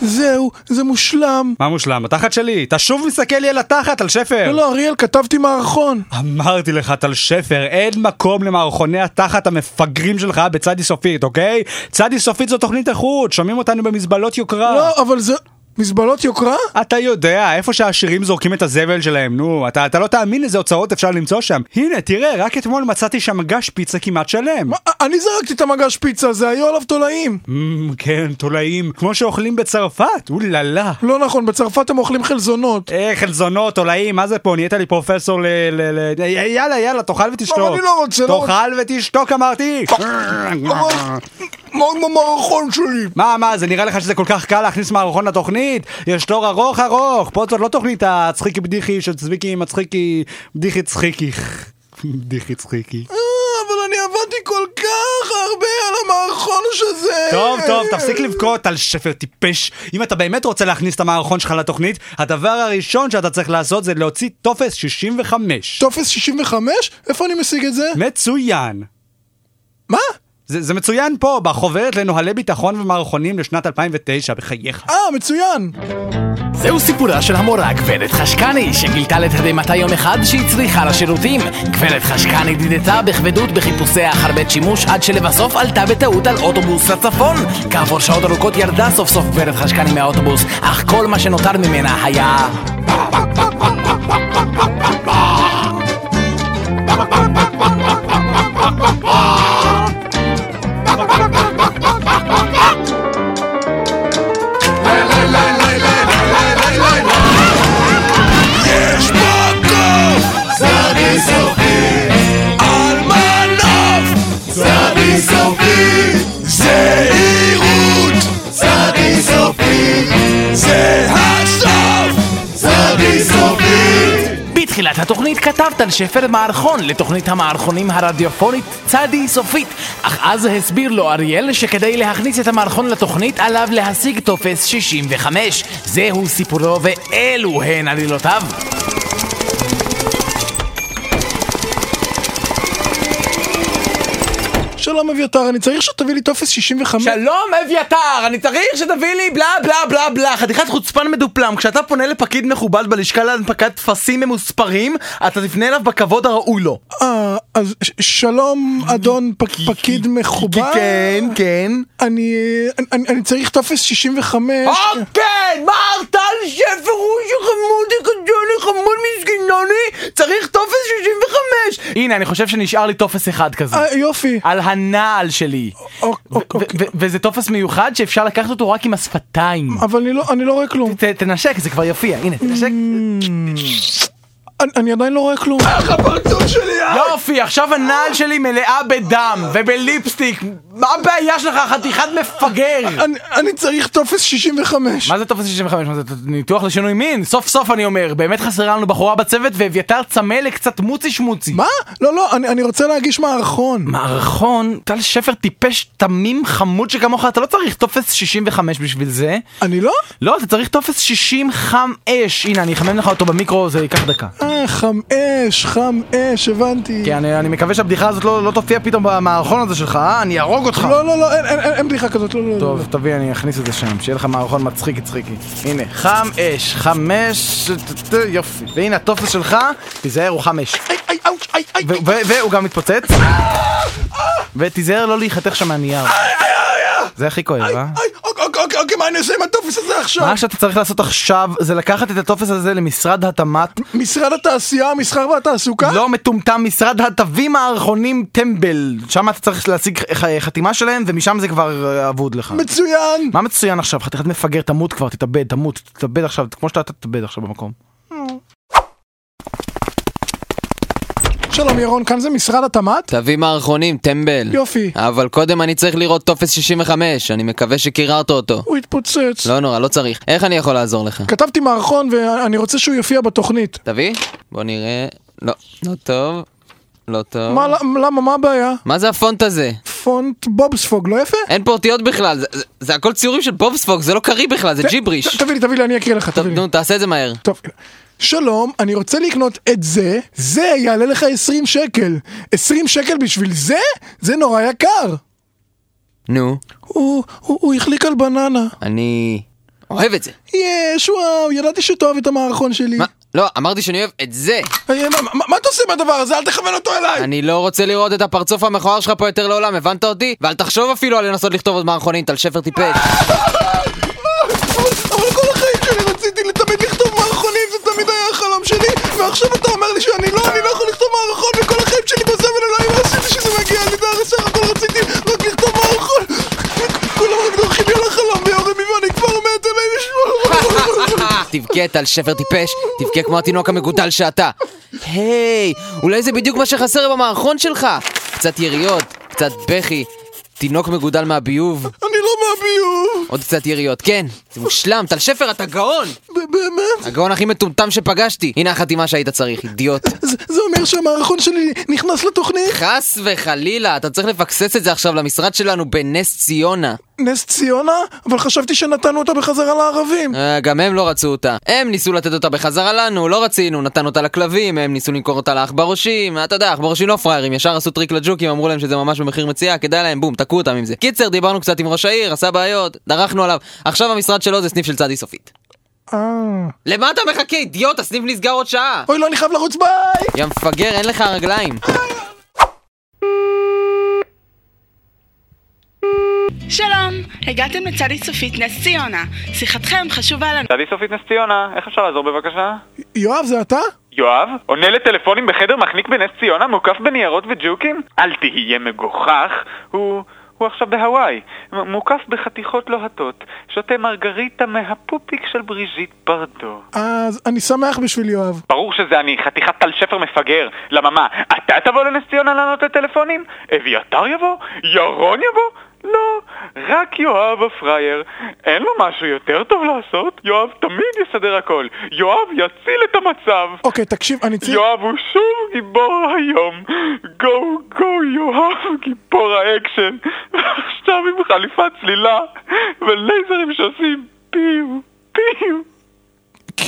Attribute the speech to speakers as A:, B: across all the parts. A: זהו, זה מושלם.
B: מה מושלם? התחת שלי. אתה שוב מסתכל לי על התחת, על שפר.
A: לא, לא, אריאל, כתבתי מערכון.
B: אמרתי לך, טל שפר, אין מקום למערכוני התחת המפגרים שלך בצדי סופית, אוקיי? צדי סופית זו תוכנית איכות, שומעים אותנו במזבלות יוקרה.
A: לא, אבל זה... מזבלות יוקרה?
B: אתה יודע, איפה שהעשירים זורקים את הזבל שלהם, נו, אתה, אתה לא תאמין איזה הוצאות אפשר למצוא שם. הנה, תראה, רק אתמול מצאתי שם מגש פיצה כמעט שלם.
A: מה, אני זרקתי את המגש פיצה הזה, היו עליו תולעים.
B: Mm, כן, תולעים, כמו שאוכלים בצרפת, אוללה.
A: לא נכון, בצרפת הם אוכלים חלזונות.
B: אה, חלזונות, תולעים, מה זה פה, נהיית לי פרופסור ל... ל, ל... י- יאללה, יאללה, תאכל ותשתוק.
A: לא, אני לא רוצה, לא
B: תאכל ותשתוק, אמרתי!
A: אבל... מה עם המערכון שלי?
B: מה, מה, זה נראה לך שזה כל כך קל להכניס מערכון לתוכנית? יש תור ארוך ארוך, פה זאת לא תוכנית הצחיקי בדיחי של צביקי מצחיקי, בדיחי צחיקי. בדיחי צחיקי.
A: אה, אבל אני עבדתי כל כך הרבה על המערכון שזה...
B: טוב, טוב, תפסיק לבכות על שפר טיפש. אם אתה באמת רוצה להכניס את המערכון שלך לתוכנית, הדבר הראשון שאתה צריך לעשות זה להוציא טופס 65.
A: טופס 65? איפה אני משיג את זה?
B: מצוין.
A: מה?
B: זה, זה מצוין פה, בחוברת לנוהלי ביטחון ומערכונים לשנת 2009, בחייך.
A: אה, מצוין!
C: זהו סיפורה של המורה גברת חשקני, שגילתה לתדהמתה יום אחד שהיא צריכה לשירותים. גברת חשקני דידתה בכבדות בחיפושיה אחר בית שימוש, עד שלבסוף עלתה בטעות על אוטובוס לצפון. כעבור שעות ארוכות ירדה סוף סוף גברת חשקני מהאוטובוס, אך כל מה שנותר ממנה היה...
A: יש מקום! סבי סופי! על מנוף! סבי סופי! זהירות! סבי סופי! זה הסוף! סבי סופי!
C: בתחילת התוכנית כתב טל שפר מערכון לתוכנית המערכונים הרדיופונית צדי סופית אך אז הסביר לו אריאל שכדי להכניס את המערכון לתוכנית עליו להשיג טופס 65 זהו סיפורו ואלו הן עלילותיו
A: שלום אביתר, אני צריך שתביא לי טופס 65.
D: שלום אביתר, אני צריך שתביא לי בלה בלה בלה בלה חתיכת חוצפן מדופלם כשאתה פונה לפקיד מכובד בלשכה להנפקת טפסים ממוספרים אתה תפנה אליו בכבוד הראוי לו
A: אה, אז ש- שלום אדון פק- פקיד מכובד.
D: כן, כן
A: אני, אני, אני צריך טופס 65.
C: אה!
D: אוקיי, מר טל שפר הוא שחמודי קדוני חמוד מסגנוני צריך טופס 65
C: הנה אני חושב שנשאר לי טופס אחד כזה
A: אה, יופי. אוקיי,
C: על הנעל שלי
A: אוק- אוק-
D: אוקיי,
C: ו-
A: אוק.
C: ו- וזה טופס מיוחד שאפשר לקחת אותו רק עם השפתיים
D: אה,
A: אבל אני לא, אני לא רואה כלום.
C: ת- תנשק זה כבר יופיע הנה תנשק
A: אני, אני עדיין לא רואה כלום.
C: אה!
D: אה.
C: יופי, עכשיו הנעל שלי מלאה בדם ובליפסטיק.
D: מה הבעיה שלך חתיכת מפגר
A: אני, אני צריך טופס 65.
C: מה זה טופס 65? מה זה ניתוח לשינוי מין? סוף סוף אני אומר, באמת חסרה לנו בחורה בצוות ואביתר צמא לקצת מוצי שמוצי.
A: מה? לא, לא, אני, אני רוצה להגיש מערכון.
C: מערכון? טל שפר טיפש תמים חמוד שכמוך, אתה לא צריך טופס 65 בשביל זה.
A: אני לא?
C: לא, אתה צריך טופס 60 חם אש. הנה, אני אחמם לך אותו במיקרו, זה ייקח דקה.
A: אה, חם אש, חם אש, הבנתי.
C: כן, אני, אני מקווה שהבדיחה הזאת לא, לא תופיע פתאום במערכון הזה שלך, אה? אני אהרוג אותך.
A: לא, לא, לא, אין, אין, אין, אין בדיחה כזאת, לא, לא, לא.
C: טוב, תביא, אני אכניס את זה שם, שיהיה לך מערכון מצחיק צחיקי. הנה, חם אש, חמש, ט- ט- יופי. והנה הטופס שלך, תיזהר, הוא חמש.
A: איי, איי, אאוץ', איי, איי.
C: ו- ו- והוא גם מתפוצץ. ותיזהר לא להיחתך שם מהנייר. זה הכי כואב, אה?
A: איי, אוקיי, אוקיי, אוקיי, אוקיי, מה אני אעשה עם הטופס הזה עכשיו?
C: מה שאתה צריך לעשות עכשיו זה לקחת את הטופס הזה למשרד התמ"ת,
A: משרד התעשייה, המסחר והתעסוקה?
C: לא מטומטם, משרד התווים הערכונים טמבל. שם אתה צריך להשיג ח- ח- חתימה שלהם ומשם זה כבר אה, אבוד לך.
A: מצוין!
C: מה מצוין עכשיו? חתיכת מפגר, תמות כבר, תתאבד, תמות, תתאבד עכשיו, כמו שאתה תתאבד עכשיו במקום.
A: שלום ירון, כאן זה משרד התמ"ת?
E: תביא מערכונים, טמבל.
A: יופי.
E: אבל קודם אני צריך לראות טופס 65, אני מקווה שקיררת אותו.
A: הוא התפוצץ.
E: לא נורא, לא צריך. איך אני יכול לעזור לך?
A: כתבתי מערכון ואני רוצה שהוא יופיע בתוכנית.
E: תביא? בוא נראה. לא, לא טוב. לא טוב.
A: מה, למה, מה הבעיה?
E: מה זה הפונט הזה?
A: פונט בובספוג, לא יפה?
E: אין פה אותיות בכלל, זה- זה- זה הכל ציורים של בובספוג, זה לא קריא בכלל, זה ג'יבריש.
A: ת- תביא לי, תביא לי, אני אקריא לך,
E: טוב,
A: תביא לי.
E: נו, תעשה את זה מהר.
A: טוב. שלום, אני רוצה לקנות את זה, זה יעלה לך 20 שקל. 20 שקל בשביל זה? זה נורא יקר.
E: נו,
A: הוא, הוא, הוא החליק על בננה.
E: אני... אוהב את זה.
A: יש, וואו, ידעתי שתאהב את המערכון שלי.
E: מה? לא, אמרתי שאני אוהב את זה.
A: אה, מה- מה- מה אתה עושה מהדבר הזה? אל תכוון אותו אליי!
E: אני לא רוצה לראות את הפרצוף המכוער שלך פה יותר לעולם, הבנת אותי? ואל תחשוב אפילו על לנסות לכתוב עוד מערכונים, טל שפר טיפש.
A: אבל אבל כל החיים שלי רציתי תמיד לכתוב מערכונים, זה תמיד היה החלום שלי, ועכשיו אתה אומר לי שאני לא, אני לא יכול לכתוב מערכון, וכל החיים שלי בזבל, אלוהים, לא עשיתי שזה מגיע, אני יודע, סך הכל רציתי רק לכתוב מערכון. כולם רק דורכים לי על החלום, ויורים לי ואני כבר מת, אלוהים ישמעו.
E: תבכה, טל שפר טיפש, תבכה כמו התינוק המגודל שאתה. היי, אולי זה בדיוק מה שחסר במערכון שלך. קצת יריות, קצת בכי, תינוק מגודל מהביוב,
A: אני לא מהביוב.
E: עוד קצת יריות. כן, זה מושלם, טל שפר, אתה גאון!
A: ב- באמת?
E: הגאון הכי מטומטם שפגשתי. הנה החתימה שהיית צריך, אידיוט.
A: זה- זה אומר שהמערכון שלי נכנס לתוכנית?
E: חס וחלילה, אתה צריך לפקסס את זה עכשיו למשרד שלנו בנס ציונה.
A: נס ציונה? אבל חשבתי שנתנו אותה בחזרה לערבים.
E: אה, גם הם לא רצו אותה. הם ניסו לתת אותה בחזרה לנו, לא רצינו, נתנו אותה לכלבים, הם ניסו למכור אותה לעכברושים, אתה יודע, עכברושים לא פראיירים, ישר עשו טריק לג'וקים, אמרו להם שזה ממש במחיר מציאה, כדאי להם, בום, תקעו אותם עם זה. קיצר, דיברנו קצת עם ראש העיר, עשה בעיות, דרכנו עליו, עכשיו המשרד שלו זה סניף של צדי סופית.
A: אה.
E: למה אתה מחכה, אידיוט? הסניף נסגר עוד שעה!
A: אוי לא, אני חייב לרוץ ביי!
E: יא מפגר, אין לך רגליים.
F: שלום, הגעתם לצדי צופית נס ציונה. שיחתכם חשובה לנו.
G: צדי סופית נס ציונה, איך אפשר לעזור בבקשה?
A: יואב, זה אתה?
G: יואב, עונה לטלפונים בחדר מחניק בנס ציונה מוקף בניירות וג'וקים? אל תהיה מגוחך, הוא... הוא עכשיו בהוואי, מ- מוקף בחתיכות לוהטות, שותה מרגריטה מהפופיק של בריז'יט ברדו.
A: אז אני שמח בשביל יואב.
G: ברור שזה אני, חתיכת טל שפר מפגר. למה מה, אתה תבוא לנס ציונה לענות לטלפונים? אביתר יבוא? ירון יבוא? לא, רק יואב הפראייר. אין לו משהו יותר טוב לעשות? יואב תמיד יסדר הכל. יואב יציל את המצב.
A: אוקיי, תקשיב, אני צריך...
G: יואב הוא שוב גיבור היום. גו גו יואב גיבור האקשן. עכשיו עם חליפת צלילה ולייזרים שעושים פיו פיו.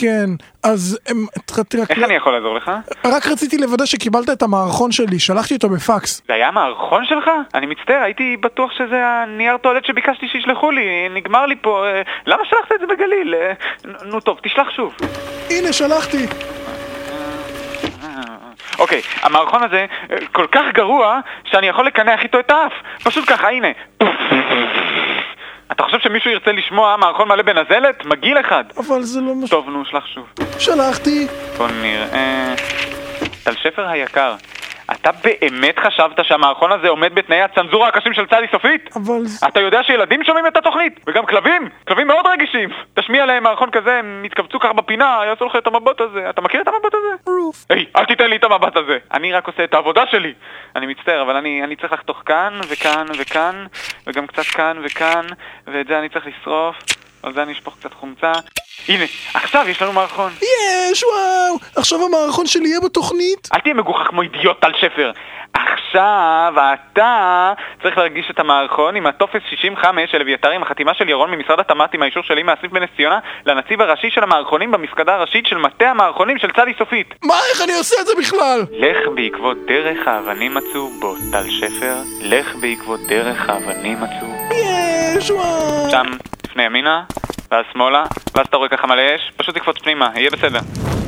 A: כן, אז... אמ, ת- ת- רק-
G: איך אני יכול לעזור לך?
A: רק רציתי לוודא שקיבלת את המערכון שלי, שלחתי אותו בפקס.
G: זה היה המערכון שלך? אני מצטער, הייתי בטוח שזה הנייר טואלט שביקשתי שישלחו לי, נגמר לי פה, אה, למה שלחת את זה בגליל? אה, נ- נו טוב, תשלח שוב.
A: הנה, שלחתי.
G: אוקיי, המערכון הזה אה, כל כך גרוע, שאני יכול לקנח איתו את האף. פשוט ככה, הנה. אתה חושב שמישהו ירצה לשמוע מערכון מלא בנזלת? מגעיל אחד.
A: אבל זה לא מה... ש-
G: טוב, נו, שלח שוב.
A: שלחתי.
G: בוא נראה. טל שפר היקר, אתה באמת חשבת שהמערכון הזה עומד בתנאי הצנזורה הקשים של צדי סופית?
A: אבל... זה-
G: אתה יודע שילדים שומעים את התוכנית? וגם כלבים? כלבים מאוד רגישים! תשמיע להם מערכון כזה, הם יתכווצו ככה בפינה, יעשו לך את המבט הזה. אתה מכיר את המבט הזה?
A: רוף.
G: היי, אל תיתן לי את המבט הזה! אני רק עושה את העבודה שלי! אני מצטער, אבל אני, אני צריך לחתוך כאן, וכאן, וכאן, וגם קצת כאן, וכאן, ואת זה אני צריך לשרוף, על זה אני אשפוך קצת חומצה. הנה, עכשיו יש לנו מערכון.
A: יש, וואו! עכשיו המערכון שלי יהיה בתוכנית?
G: אל תהיה מגוחך כמו אידיוט טל שפר. עכשיו אתה צריך להרגיש את המערכון עם הטופס 65 של אביתר עם החתימה של ירון ממשרד התמ"ת עם האישור שלי מהסניף בנס ציונה לנציב הראשי של המערכונים במפקדה הראשית של מטה המערכונים של צדי סופית.
A: מה, איך אני עושה את זה בכלל?
G: לך בעקבות דרך האבנים מצאו בו טל שפר, לך בעקבות דרך האבנים מצאו
A: יש, וואו!
G: שם, לפני ימינה, ואז שמאלה, ואז אתה רואה ככה מלא אש, פשוט תקפוץ פנימה, יהיה בסדר.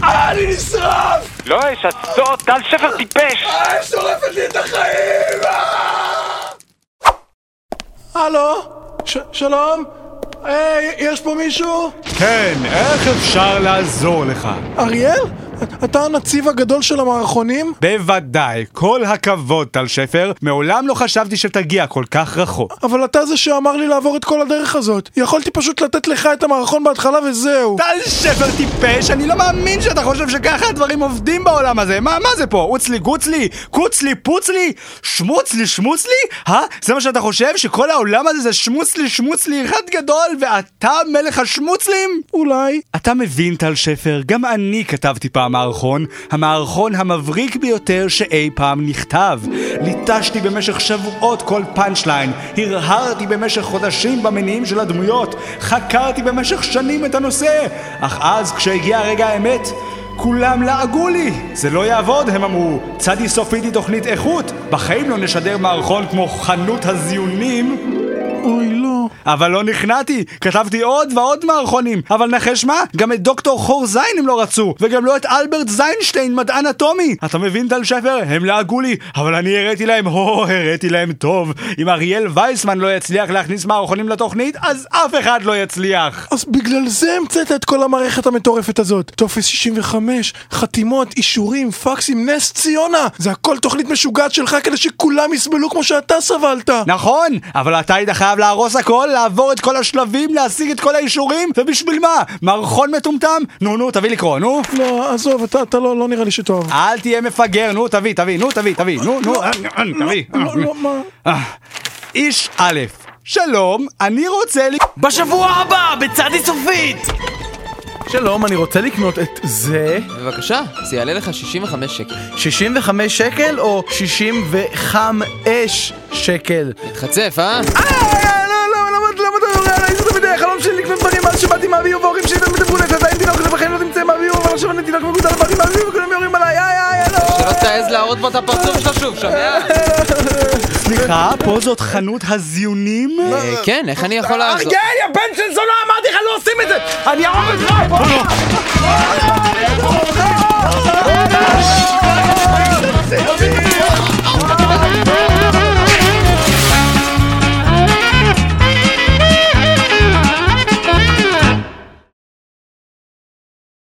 A: אה, אני נשרף!
G: לא אש, עצור, טל שפר טיפש!
A: אה, הם שורפת לי את החיים! אה! הלו? ש- שלום? היי, יש פה מישהו?
B: כן, איך אפשר לעזור לך?
A: אריאל? אתה הנציב הגדול של המערכונים?
B: בוודאי, כל הכבוד, טל שפר, מעולם לא חשבתי שתגיע כל כך רחוק.
A: אבל אתה זה שאמר לי לעבור את כל הדרך הזאת. יכולתי פשוט לתת לך את המערכון בהתחלה וזהו.
B: טל שפר טיפש, אני לא מאמין שאתה חושב שככה הדברים עובדים בעולם הזה. מה, מה זה פה? אוצלי גוצלי? קוצלי פוצלי? שמוצלי שמוצלי? אה? זה מה שאתה חושב? שכל העולם הזה זה שמוצלי שמוצלי אחד גדול, ואתה מלך השמוצלים?
A: אולי.
B: אתה מבין, טל שפר, גם אני כתבתי פעם מערכון, המערכון המבריק ביותר שאי פעם נכתב. ליטשתי במשך שבועות כל פאנצ'ליין, הרהרתי במשך חודשים במניעים של הדמויות, חקרתי במשך שנים את הנושא, אך אז, כשהגיע רגע האמת, כולם לעגו לי! זה לא יעבוד, הם אמרו. צדי סופית היא תוכנית איכות, בחיים לא נשדר מערכון כמו חנות הזיונים.
A: אוי, לא.
B: אבל לא נכנעתי, כתבתי עוד ועוד מערכונים, אבל נחש מה? גם את דוקטור חור זין הם לא רצו, וגם לא את אלברט זיינשטיין, מדען אטומי. אתה מבין, טל שפר? הם לעגו לי, אבל אני הראיתי להם, הו, הראיתי להם טוב. אם אריאל וייסמן לא יצליח להכניס מערכונים לתוכנית, אז אף אחד לא יצליח.
A: אז בגלל זה המצאת את כל המערכת המטורפת הזאת. טופס 65, חתימות, אישורים, פקסים, נס ציונה! זה הכל תוכנית משוגעת שלך כדי שכולם יסבלו כמו שאתה סבלת!
B: נכון, אבל אתה היית חייב להרוס הכל, לעבור את כל השלבים, להשיג את כל האישורים, ובשביל מה? מערכון מטומטם? נו נו, תביא לקרוא, נו.
A: לא, עזוב, אתה, אתה לא, לא נראה לי שתאהב.
B: אל תהיה מפגר, נו תביא, תביא, נו תביא, תביא, נו, נו, אה, אה, תביא.
A: לא, לא, מה?
B: אה. איש א', שלום, אני רוצה ל...
H: בשבוע הבא, בצעדי סופית!
C: שלום, אני רוצה לקנות את זה.
E: בבקשה, זה יעלה לך 65 שקל.
C: 65 שקל או 65 שקל?
E: מתחצף, אה?
C: אה, לא, לא, למה למה אתה יורה עליי? זה תמיד היה החלום שלי לקנות דברים מאז שבאתי מהביוב וההורים שלי תמיד אמרו לי, אתה עדיין תינוק, אתה בחיים לא תמצא מהביוב, אבל עכשיו אני תינוק מגודל, באתי מהביוב וכולם יורים עליי, איי, איי, איי, לא.
E: שלא תעז להראות בו את הפרצוף שלך שוב, שומע?
B: סליחה, פה זאת חנות הזיונים?
E: אה, כן, איך אני יכול לעזור?
C: אריאל, יא בן של זונה, אמרתי לך, לא עושים את זה! אני אהרוג אותך!